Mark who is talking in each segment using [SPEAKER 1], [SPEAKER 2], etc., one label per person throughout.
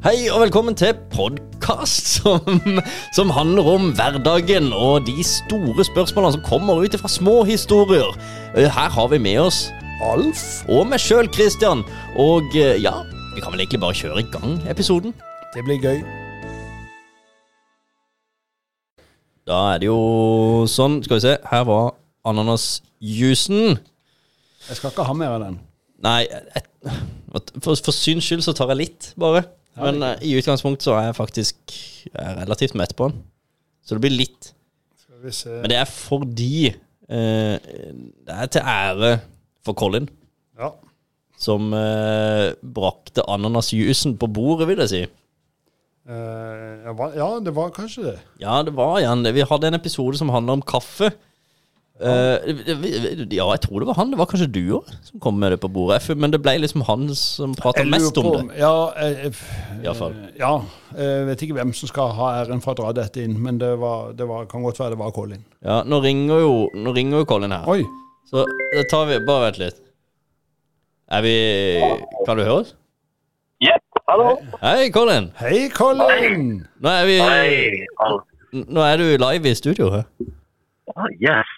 [SPEAKER 1] Hei og velkommen til podkast som, som handler om hverdagen og de store spørsmålene som kommer ut fra små historier. Eh, Her har vi med oss Alf og meg sjøl, Christian. Og eh, ja, vi kan vel egentlig bare kjøre i gang episoden.
[SPEAKER 2] Det blir gøy.
[SPEAKER 1] Da er det jo sånn. Skal vi se. Her var ananasjuicen.
[SPEAKER 2] Jeg skal ikke ha mer av den.
[SPEAKER 1] Nei, et, for, for syns skyld så tar jeg litt, bare. Men eh, i utgangspunktet så er jeg faktisk jeg er relativt mett på den. Så det blir litt.
[SPEAKER 2] Skal vi se.
[SPEAKER 1] Men det er fordi eh, Det er til ære for Colin,
[SPEAKER 2] Ja.
[SPEAKER 1] som eh, brakte ananasjuicen på bordet, vil jeg si.
[SPEAKER 2] Eh, jeg var, ja, det var kanskje det.
[SPEAKER 1] Ja, det var igjen det. Vi hadde en episode som handla om kaffe. Eh, vi- ja, jeg tror det var han. Det var kanskje du òg som kom med det på bordet. Jeg føl- Men det ble liksom han som prata
[SPEAKER 2] Jeg lurer
[SPEAKER 1] mest om
[SPEAKER 2] på
[SPEAKER 1] det.
[SPEAKER 2] Ja, jeg, jeg,
[SPEAKER 1] I hvert fall.
[SPEAKER 2] eh, ja, jeg vet ikke hvem som skal ha æren for å dra dette inn, men det, var, det var, kan godt være det var Colin.
[SPEAKER 1] Ja, nå ringer jo, nå ringer jo Colin her.
[SPEAKER 2] Oi!
[SPEAKER 1] Så da tar vi Bare vent litt. Er vi Kan du høre oss?
[SPEAKER 3] Jepp, hallo.
[SPEAKER 1] Hei, Colin.
[SPEAKER 2] Hei, Colin!
[SPEAKER 1] Nå er vi
[SPEAKER 3] Hei, Alf.
[SPEAKER 1] Nå er du live i studio. hæ?
[SPEAKER 3] Ah, Yes,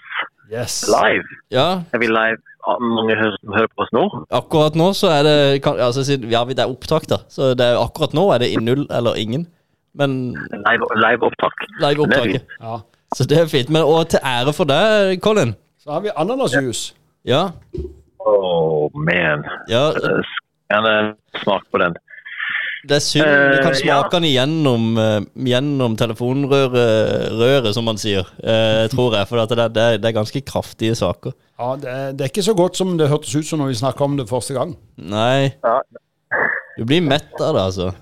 [SPEAKER 2] Yes.
[SPEAKER 3] live.
[SPEAKER 1] Ja,
[SPEAKER 3] Er vi live? Ah, Mange hø- som hører på oss nå?
[SPEAKER 1] akkurat nå så er det kan, altså, siden- Ja, vi- det er opptak, da. Så det er, akkurat nå er det i null eller ingen. Men
[SPEAKER 3] Live, live opptak.
[SPEAKER 1] live opptaket.
[SPEAKER 2] Ja.
[SPEAKER 1] Så det er fint. Men og til ære for deg, Colin.
[SPEAKER 2] Så har vi ananasjus.
[SPEAKER 1] Ja.
[SPEAKER 3] Oh, man.
[SPEAKER 1] ja
[SPEAKER 3] Eh, Skal jeg smake på den?
[SPEAKER 1] det er synd du kan
[SPEAKER 3] Eh,
[SPEAKER 1] smake den gjennom, eh, gjennom telefonrøret, røret, som man sier. Eh, tror jeg. For at det, er- det, er- det er ganske kraftige saker.
[SPEAKER 2] Ja, det, er- det er ikke så godt som det hørtes ut som når vi snakka om det første gang.
[SPEAKER 1] Nei.
[SPEAKER 3] Ja.
[SPEAKER 1] Du blir mett av det, altså.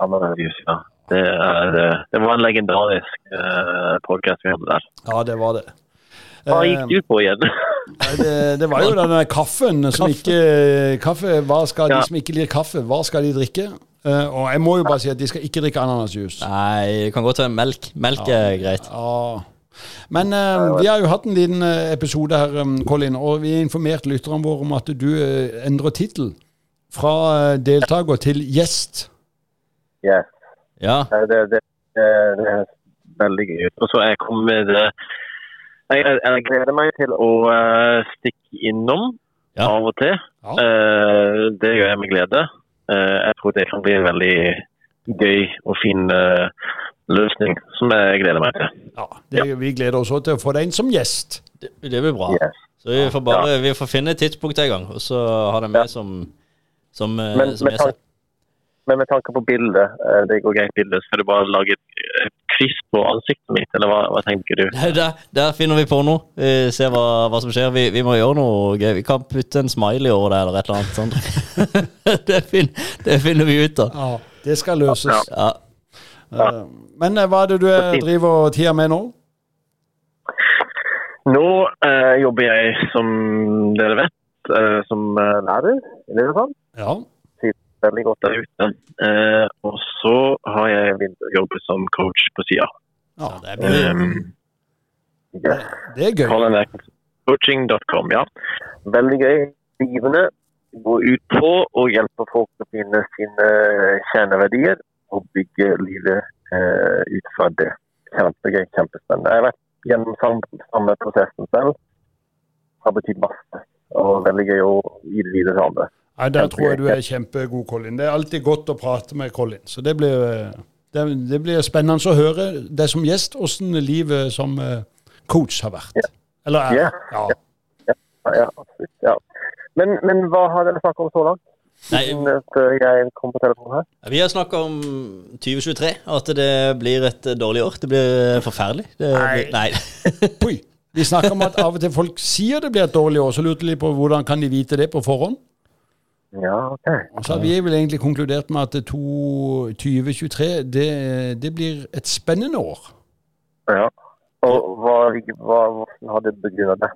[SPEAKER 3] Ja, men det er jus, ja. Det, er, eh, det var en legendarisk uh, podcast vi hadde der.
[SPEAKER 2] Ja, det var det.
[SPEAKER 3] Hva
[SPEAKER 2] Eh,
[SPEAKER 3] gikk du på igjen?
[SPEAKER 2] det, det var jo den der kaffen som ikke eh, kaffe, hva skal
[SPEAKER 3] Ja.
[SPEAKER 2] De som ikke liker kaffe, hva skal de drikke? Eh, og jeg må jo bare si at de skal ikke drikke ananasjus.
[SPEAKER 1] Nei, det kan godt være melk. Melk er greit.
[SPEAKER 2] Ja. Men eh, vi har jo hatt en liten eh, episode her, eh, Colin, og vi har informert lytterne våre om at du eh, endrer tittel fra eh, deltaker til gjest.
[SPEAKER 3] yes,
[SPEAKER 1] Ja.
[SPEAKER 3] det, det, det, det er veldig gøy. Og så jeg kommer eh, jeg, jeg, jeg gleder meg til å eh, stikke innom
[SPEAKER 1] Ja.
[SPEAKER 3] av og til.
[SPEAKER 2] Ja.
[SPEAKER 3] Eh, det gjør jeg med glede. Eh, jeg tror det kan bli en veldig gøy og fin eh, løsning, som jeg gleder meg til.
[SPEAKER 2] Ja, det, Vi gleder oss også til å få deg inn som gjest.
[SPEAKER 1] Det, det blir bra.
[SPEAKER 3] Yes.
[SPEAKER 1] Så vi får bare Vi får finne et tidspunkt en gang, og så ha det med som som, eh,
[SPEAKER 3] Men,
[SPEAKER 1] som
[SPEAKER 3] med,
[SPEAKER 1] jeg sa.
[SPEAKER 3] tanke, men med tanke på bildet, eh, det går greit bilde, skal du bare lage et, et kryss på ansiktet mitt, eller hva, hva tenker du?
[SPEAKER 1] Der, der, der finner vi på noe. Vi ser hva, hva som skjer. Vi, vi må gjøre noe gøy. Vi kan putte en smiley over det, eller et eller annet. sånt. det, fin, det finner vi ut av.
[SPEAKER 2] Ja, Det skal løses.
[SPEAKER 3] Ja.
[SPEAKER 1] Ja.
[SPEAKER 2] Eh, men eh, hva er det du eh, driver tida med nå?
[SPEAKER 3] Nå eh, jobber jeg, som dere vet, eh, som eh, lærer, i det fall.
[SPEAKER 2] Ja.
[SPEAKER 3] Veldig godt der ute. Eh, og så har jeg begynt å jobbe som coach på sida.
[SPEAKER 2] ja.
[SPEAKER 1] Det er mye.
[SPEAKER 3] Um, yes.
[SPEAKER 2] Det
[SPEAKER 3] Eh,
[SPEAKER 2] er gøy.
[SPEAKER 3] Coaching.com, ja. Veldig gøy. Givende. Gå ut på og hjelpe folk å finne sine eh, kjerneverdier og bygge livet eh, ut fra det. Kjempegøy, kjempespennende. Jeg har vært gjennom samme, samme prosessen selv. Har betydd masse. Og veldig gøy å gi det videre til andre.
[SPEAKER 2] Nei, der tror jeg du er kjempegod, Colin. Det er alltid godt å prate med Colin. Så det blir, eh, det, det blir spennende å høre deg som gjest, åssen livet som eh, coach har vært. Eller
[SPEAKER 3] Ja.
[SPEAKER 2] er. Ja.
[SPEAKER 3] Ja, absolutt. Ja. Men, men hva har dere snakket om så langt?
[SPEAKER 1] Nei,
[SPEAKER 3] Siden at eh, jeg kom på telefonen her?
[SPEAKER 1] vi har snakka om 2023, at det blir et dårlig år. Det blir forferdelig. Det, blir- nei.
[SPEAKER 2] Oi. Vi snakker om at av og til folk sier det blir et dårlig år, så lurte de på hvordan kan de vite det på forhånd.
[SPEAKER 3] Ja, OK.
[SPEAKER 2] Så har vi vel egentlig konkludert med at det to- 2023, det, det blir et spennende år.
[SPEAKER 3] Ja. Og hva, hva, hvordan har dere begrunnet det?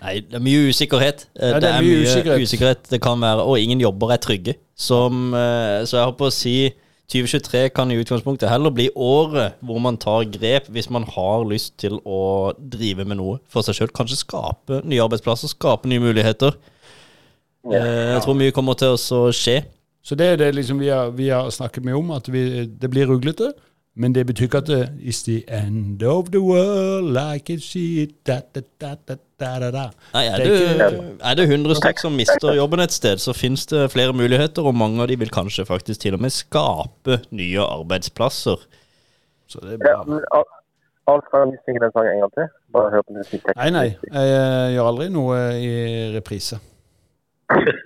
[SPEAKER 1] Nei, det er mye usikkerhet. Eh,
[SPEAKER 2] Ja,
[SPEAKER 1] det, er mye, usikkerhet. Det kan være, og ingen jobber er trygge. Som, eh, så jeg håper å si 2023 kan i utgangspunktet heller bli året hvor man tar grep hvis man har lyst til å drive med noe for seg sjøl. Kanskje skape nye arbeidsplasser, skape nye muligheter. Eh, Jeg tror mye kommer til å så skje.
[SPEAKER 2] Så det er det liksom vi har, vi har snakket mye om, at vi, det blir ruglete. Men det betyr ikke at det It's the end of the world like it's it da, da, da, da, da, da, da.
[SPEAKER 1] Nei, er
[SPEAKER 2] Det
[SPEAKER 1] du,
[SPEAKER 2] er
[SPEAKER 1] er det 100 stykk som mister jobben et sted, så finnes det flere muligheter, og mange av de vil kanskje faktisk til og med skape nye arbeidsplasser.
[SPEAKER 2] Så det er
[SPEAKER 3] Ja,
[SPEAKER 2] bra.
[SPEAKER 3] men Al- Alf, kan du synge den sangen en gang til? Bare hør på musikkteksten.
[SPEAKER 2] Nei, nei. Jeg eh, gjør aldri noe i reprise.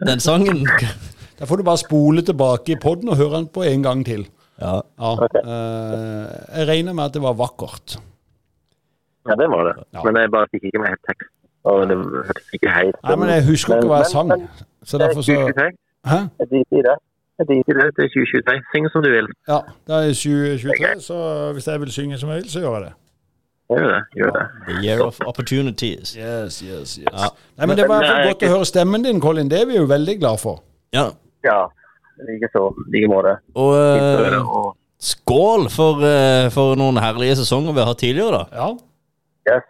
[SPEAKER 1] Den sangen
[SPEAKER 2] Da får du bare spole tilbake i poden og høre den på en gang til.
[SPEAKER 1] Ja.
[SPEAKER 2] Ja. eh, jeg regner med at det var vakkert.
[SPEAKER 3] Ja, det var det.
[SPEAKER 2] Ja.
[SPEAKER 3] Men jeg bare fikk ikke med helt teksten. Og det jeg fikk ikke helt.
[SPEAKER 2] Nei, men jeg husker ikke hva jeg sang.
[SPEAKER 3] Men,
[SPEAKER 2] Så
[SPEAKER 3] men,
[SPEAKER 2] derfor så
[SPEAKER 3] det er 2023.
[SPEAKER 2] Hæ?
[SPEAKER 3] Jeg driter i det. Jeg driter i det. Det er 2023. Syng som du vil.
[SPEAKER 2] Ja, det er 2023, så hvis jeg vil synge som jeg vil, så gjør jeg det.
[SPEAKER 3] Gjør det. Gjør det.
[SPEAKER 1] The Year of Opportunities.
[SPEAKER 2] Yes, yes, yes.
[SPEAKER 1] Ja.
[SPEAKER 2] Nei, men Det var i hvert
[SPEAKER 3] Nei,
[SPEAKER 2] fall godt
[SPEAKER 3] ikke-
[SPEAKER 2] å høre stemmen din, Colin. Det er vi jo veldig glad for.
[SPEAKER 1] Ja,
[SPEAKER 3] Ja. Likeså. I like måte.
[SPEAKER 1] og eh,
[SPEAKER 3] Og
[SPEAKER 1] skål for, eh, for noen herlige sesonger vi har hatt tidligere, da.
[SPEAKER 2] Ja,
[SPEAKER 3] yes.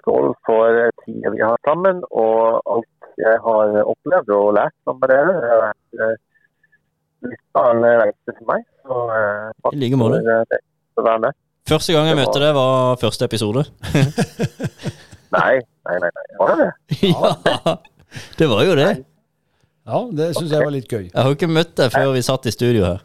[SPEAKER 3] skål for tida vi har sammen, og alt jeg har opplevd og lært sammen med dere. Det har vært eh, litt av en reise for meg. Så, eh, takk
[SPEAKER 1] I like måte.
[SPEAKER 3] for, eh, det- for å være med.
[SPEAKER 1] Første gang jeg
[SPEAKER 3] Det var-
[SPEAKER 1] møtte deg, var første episode.
[SPEAKER 3] Nei, nei, nei. nei. Var det det?
[SPEAKER 1] ja, det var jo det.
[SPEAKER 2] ja det syns jeg var litt gøy.
[SPEAKER 1] Jeg har jo ikke møtt deg før vi satt i studio her.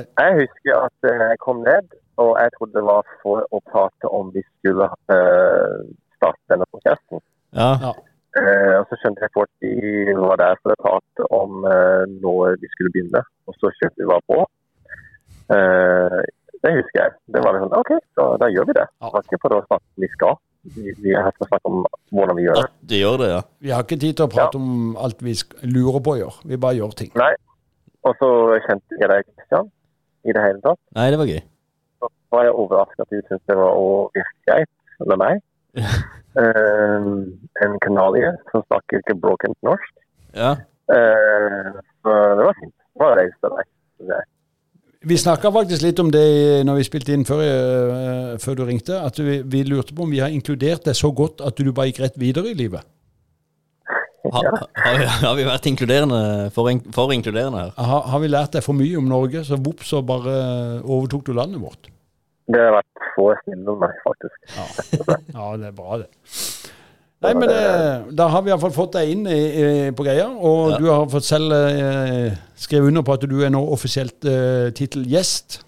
[SPEAKER 3] Jeg husker at eh, jeg kom ned, og jeg trodde det var for å prate om vi skulle eh, starte denne podcasten.
[SPEAKER 1] Ja,
[SPEAKER 2] Ja.
[SPEAKER 3] Eh, og så skjønte jeg fort at vi var der for å prate om eh, når vi skulle begynne, og så skjønte vi hva på. Eh, det husker jeg. Det var liksom, OK, da, da gjør vi det.
[SPEAKER 2] Ja.
[SPEAKER 3] Det var ikke for å snakke om vi skal. Vi, vi har snakket om hvordan vi gjør det.
[SPEAKER 1] at du gjør det, ja.
[SPEAKER 2] Vi har ikke tid til å prate om alt vi sk- lurer på å gjøre. Vi bare gjør ting.
[SPEAKER 3] Og så kjente jeg deg, Kristian, i det hele tatt.
[SPEAKER 1] Nei, det var gøy.
[SPEAKER 3] så var jeg overrasket at du syntes det var å virke greit med meg. Eh, en kanadier som snakker ikke broken norsk.
[SPEAKER 1] Ja,
[SPEAKER 3] Eh, så det var fint. Det var raust av deg.
[SPEAKER 2] Vi snakka faktisk litt om det i- når vi spilte inn før, eh, før du ringte, at vi, vi lurte på om vi har inkludert deg så godt at du bare gikk rett videre i livet.
[SPEAKER 1] ha, har, vi, har vi vært inkluderende for, in- for inkluderende her?
[SPEAKER 2] Har, har vi lært deg for mye om Norge, så vopp, så bare eh, overtok du landet vårt.
[SPEAKER 3] Det har vært få snille med meg, faktisk.
[SPEAKER 2] Ja, ja det er bra, det. Nei, men eh, Da har vi iallfall fått deg inn i, i, på greia, og
[SPEAKER 1] Ja.
[SPEAKER 2] du har fått selv eh, skrevet under på at du er nå offisielt eh, tittelgjest.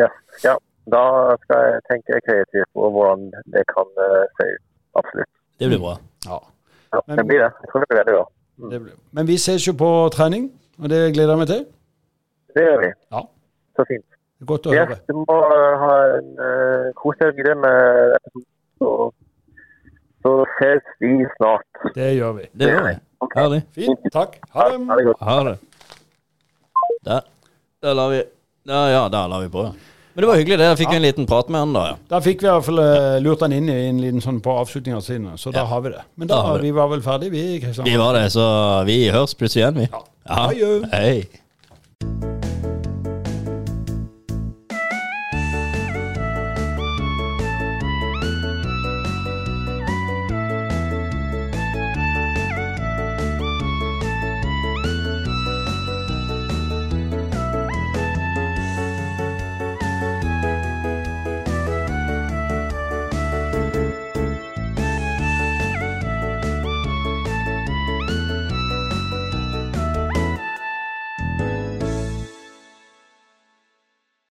[SPEAKER 3] Ja, ja. Da skal jeg tenke kreativt på hvordan det kan eh, se ut. Absolutt.
[SPEAKER 1] Det blir bra.
[SPEAKER 2] Ja.
[SPEAKER 3] Ja, det blir det. Jeg tror det blir det, da.
[SPEAKER 2] Det blir- Mm. Men vi ses jo på trening, og det gleder jeg meg til.
[SPEAKER 3] Det gjør vi.
[SPEAKER 2] Ja,
[SPEAKER 3] Så fint.
[SPEAKER 2] det er Godt å
[SPEAKER 3] Yes,
[SPEAKER 2] høre.
[SPEAKER 3] du må eh, ha en uh, kos deg videre med episoden. Så, så ses vi snart.
[SPEAKER 2] Det gjør vi.
[SPEAKER 1] Det gjør vi. Herlig.
[SPEAKER 2] Fint. Takk. Ha
[SPEAKER 3] Ha
[SPEAKER 2] det.
[SPEAKER 3] det godt.
[SPEAKER 1] Ha det. Der. Der la vi Ja, ja, der la vi på, ja. Men det var hyggelig, det. Jeg fikk jo en liten prat med han da, ja.
[SPEAKER 2] Da fikk vi i hvert fall eh, lurt han inn i en liten sånn på avslutninga sine, så da har vi det. Men
[SPEAKER 1] Da
[SPEAKER 2] da,
[SPEAKER 1] har vi
[SPEAKER 2] vi var vel ferdige, vi, Kristian?
[SPEAKER 1] Vi var det, så vi høres plutselig igjen, vi. Ja.
[SPEAKER 2] Adjø.
[SPEAKER 1] Hei.